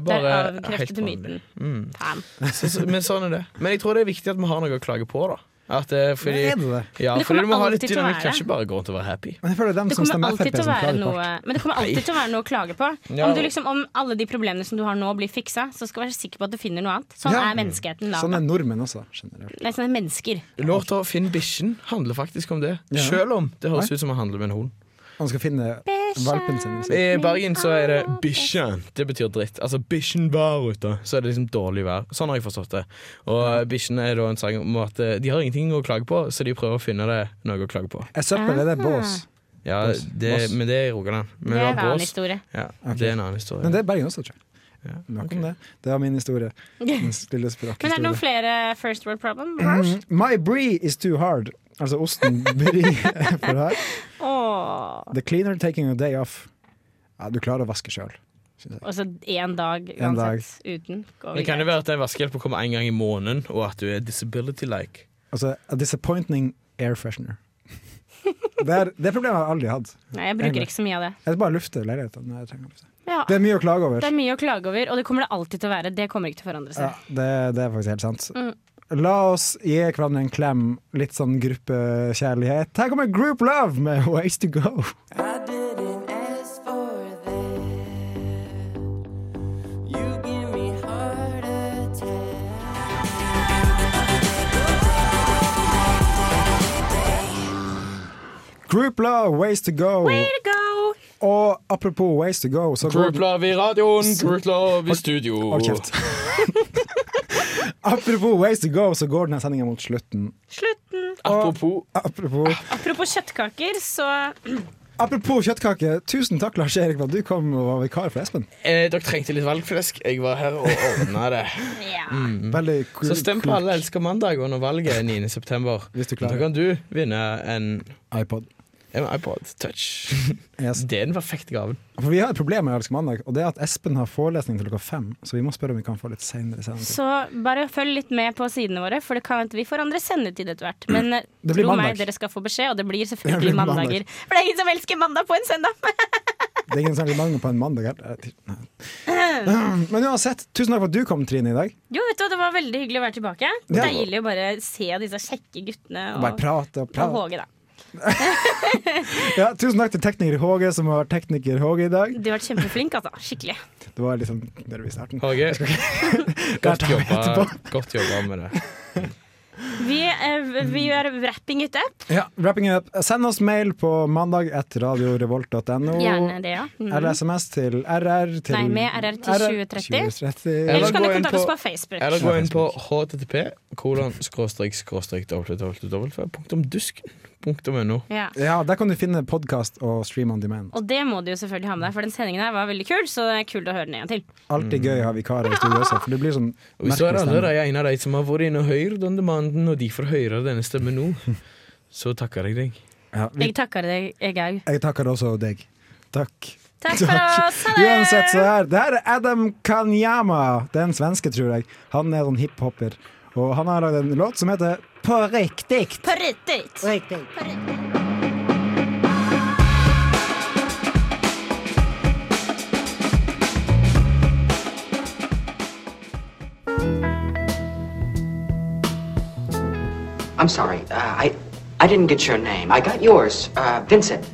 S3: Der
S4: bare helt
S3: avkreftet du myten.
S4: vanlig. Mm.
S3: Faen.
S4: Så, så, men sånn er det. Men jeg tror det er viktig at vi har noe å klage på, da. At, eh, fordi,
S2: Men er det det?
S4: Ja,
S3: Men det
S4: fordi du må
S3: kommer
S4: ha litt
S3: alltid til å
S4: dynamikk.
S3: være.
S4: Kan ikke bare gå rundt og være happy.
S2: Men jeg føler dem
S4: sånn
S3: Det
S2: som
S3: kommer
S2: stemmer
S3: alltid
S2: Frp,
S3: til å
S2: som
S3: være
S2: klager på
S3: noe Men det kommer alltid til å være noe å klage på.
S4: Ja.
S3: Om, du liksom, om alle de problemene som du har nå, blir fiksa, så skal du være sikker på at du finner noe annet. Sånn
S2: Ja.
S3: er menneskeheten.
S2: alt.
S3: Da.
S2: Sånn er nordmenn også, generelt.
S3: Nei, sånn er mennesker.
S4: Lov til å finne bikkjen handler faktisk om det.
S2: Ja.
S4: Selv om det høres ut som han handler med en hund.
S2: Man skal finne valpen sin. Liksom.
S4: I Bergen så er det bikkjen. Det betyr dritt. Altså bikkjen var ute. Så er det liksom dårlig vær. Sånn har jeg forstått det. Og eh, bikkjen er da en sang om at eh, de har ingenting å klage på, så de prøver å finne det noe å klage på.
S2: Er søppel er det bås?
S4: Ja,
S2: Bås.
S4: det,
S2: Bås.
S4: men det er i Rogaland.
S3: Det
S4: Men
S3: er en
S4: det var
S3: annen
S4: bås.
S3: historie.
S4: Ja, det er en annen historie.
S2: Men det er Bergen også, tror jeg. Nok om det. Det var min historie. Min lille
S3: Men er det noen
S2: språkhistorie.
S3: flere first world problem?
S4: Mhm.
S2: My brie is too hard. Altså osten brie er for hard.
S3: Åh.
S2: The cleaner taking a day off. Ja, du klarer å vaske sjøl.
S3: Og så én dag
S2: En dag.
S3: uansett uten. Går
S4: Men det kan jo
S3: greit.
S4: være at den vaskehjelpen kommer en gang i måneden, og at du er disability-like.
S2: Altså a disappointing air freshener. Det, er, det problemet har jeg aldri hatt.
S3: Nei, jeg bruker ikke så mye av det.
S2: Jeg bare lufter leiligheten når jeg trenger å lufte.
S3: Ja.
S2: Det er mye å klage
S3: Det
S2: over.
S3: er mye å klage over, og det kommer det alltid til å være. Det kommer ikke til å forandre
S2: Ja,
S3: seg.
S2: det, det er faktisk helt sant. La oss gi hverandre en klem. Litt sånn gruppekjærlighet. Her kommer Group Love med Ways To Go. Group Love, Ways To Go.
S3: Way to go!
S2: Og apropos Ways To Go, så går
S4: Group love i radioen, group love i studio.
S2: Hold kjeft. Apropos Ways to go, så går denne sendinga mot slutten.
S3: Slutten.
S4: Apropos
S2: Apropos,
S3: Apropos kjøttkaker, så
S2: apropos kjøttkake, tusen takk, Lars Erik, for at du kom og var vikar for Espen.
S4: eh, Dere trengte litt valgflesk. Jeg var her og ordna det.
S3: ja.
S2: Veldig kul-
S4: Så stem på Alle elsker mandag under valget 9.9.
S2: Hvis du klarer.
S4: Da kan du vinne en,
S2: iPod.
S4: en iPod Touch.
S2: Yes.
S4: Det er den perfekte gaven.
S2: For vi har et problem med Elsk mandag, og det er at Espen har forelesning til klokka fem. Så vi må spørre om vi kan få litt senere sendetid.
S3: Så bare følg litt med på sidene våre, for det kan at vi får andre sendetid etter hvert. Men eh,
S2: Mm. Det blir
S3: tro
S2: mandag.
S3: meg, dere skal få beskjed, og det blir
S2: Det blir
S3: selvfølgelig
S2: mandag.
S3: mandager. For det er ingen som elsker mandag på en søndag.
S2: Det er ingen særlig mangel på en mandag her. Nei. Men uansett, tusen takk for at du kom, Trine, i dag.
S3: Jo, vet du hva, det var veldig hyggelig å være tilbake.
S2: Ja.
S3: Deilig å bare se disse kjekke guttene
S2: Og bare
S3: og,
S2: prate og
S3: og
S2: prate.
S3: Håge, da.
S2: Ja, tusen takk til tekniker Håge, som var tekniker Håge i dag.
S3: Du har vært kjempeflink, altså. Skikkelig.
S2: Det var liksom nervøs i starten.
S4: Håge,
S2: Der
S4: godt
S2: tar vi
S4: jobba,
S2: etterpå.
S4: godt jobba med det.
S3: Vi, eh, vi gjør wrapping it up.
S2: Ja, wrapping it up. Send oss mail på mandag etter radiorevolt.no.
S3: Gjerne det, ja. Mm.
S2: Eller SMS til RR til
S3: Nei, med RR til 2030.
S2: 2030.
S4: Eller
S3: Ellers kan du
S4: gå inn
S3: kontakte
S4: på-
S3: oss på Facebook.
S4: Eller gå inn på http kolon skråstrek skråstrek www.dusken.no.
S3: Ja.
S2: Ja, der kan du finne podkast og stream on demand.
S3: Og det må du jo selvfølgelig ha med deg, for den sendingen her var veldig kul, så det er kult å høre den igjen til.
S2: Alltid gøy å ha vikarer i studio også, for det blir sånn
S4: Mm. Og Hvis du er
S2: merkelig
S4: andre
S2: stemning.
S4: er en av de som har vært inne og hørt den demanden, og de får høre denne stemmen nå, så takker jeg deg.
S2: Ja, vi,
S3: Jeg takker deg, Gaug.
S2: jeg takker også deg. Takk.
S3: Takk for oss! Ha det!
S2: Uansett, så her. Det her er Adam Kanyama. Det er en svenske, tror jeg. Han er sånn hiphoper. Og han har lagd en låt som heter På riktig.
S3: På riktigt.
S9: I'm sorry. Uh, I I didn't get your name. I got yours, uh, Vincent,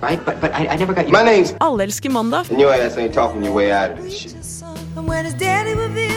S9: right? But but I, I never got your
S6: My name's
S10: Alle elsker mandag.
S6: and your ass ain't talking your way out of this shit.
S7: And when his daddy reveals